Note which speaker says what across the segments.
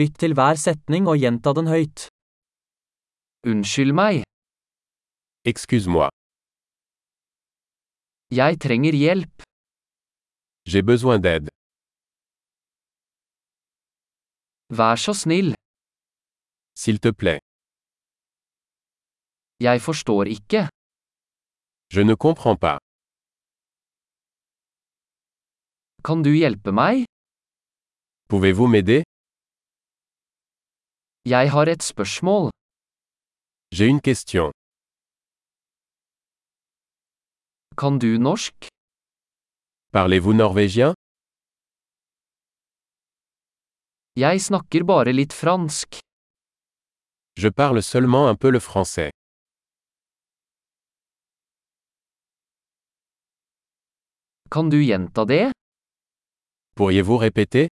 Speaker 1: Lytt til hver setning og gjenta den høyt. Unnskyld meg,
Speaker 2: Excuse-moi,
Speaker 1: jeg trenger hjelp.
Speaker 2: j'ai besoin d'aide.
Speaker 1: Vær så snill,
Speaker 2: S'il te plaît,
Speaker 1: jeg forstår ikke.
Speaker 2: je ne comprends pas.
Speaker 1: Kan du hjelpe meg?
Speaker 2: Pouvez-vous m'aider
Speaker 1: Jeg har et spørsmål.
Speaker 2: J'ai une question.
Speaker 1: Kan du norsk?
Speaker 2: Parlez-vous norvégien
Speaker 1: Jeg snakker bare litt fransk.
Speaker 2: Je parle seulement un peu le français.
Speaker 1: Kan du gjenta det?
Speaker 2: Pourriez-vous répéter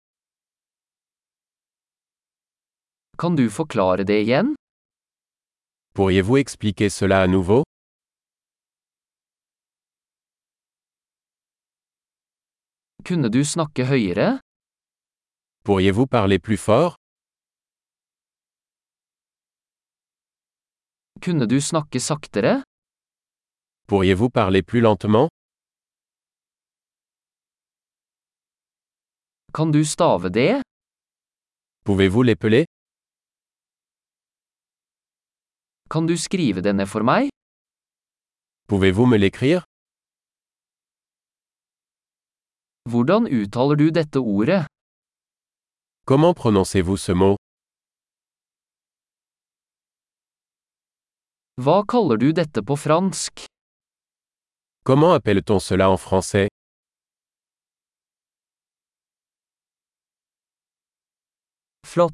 Speaker 1: Kan du forklare det igjen?
Speaker 2: Pourriez-vous expliquer cela à nouveau
Speaker 1: Kunne du snakke høyere?
Speaker 2: Pourriez-vous parler plus fort
Speaker 1: Kunne du snakke saktere?
Speaker 2: Pourriez-vous parler plus lentement
Speaker 1: Kan du stave det?
Speaker 2: Pouvez-vous l'épeler
Speaker 1: Kan du skrive det ned for meg?
Speaker 2: Pouvez-vous me l'écrire
Speaker 1: Hvordan uttaler du dette ordet?
Speaker 2: Comment prononcez-vous ce mot
Speaker 1: Hva kaller du dette på fransk?
Speaker 2: Comment appelle-t-on cela en français
Speaker 1: Flott!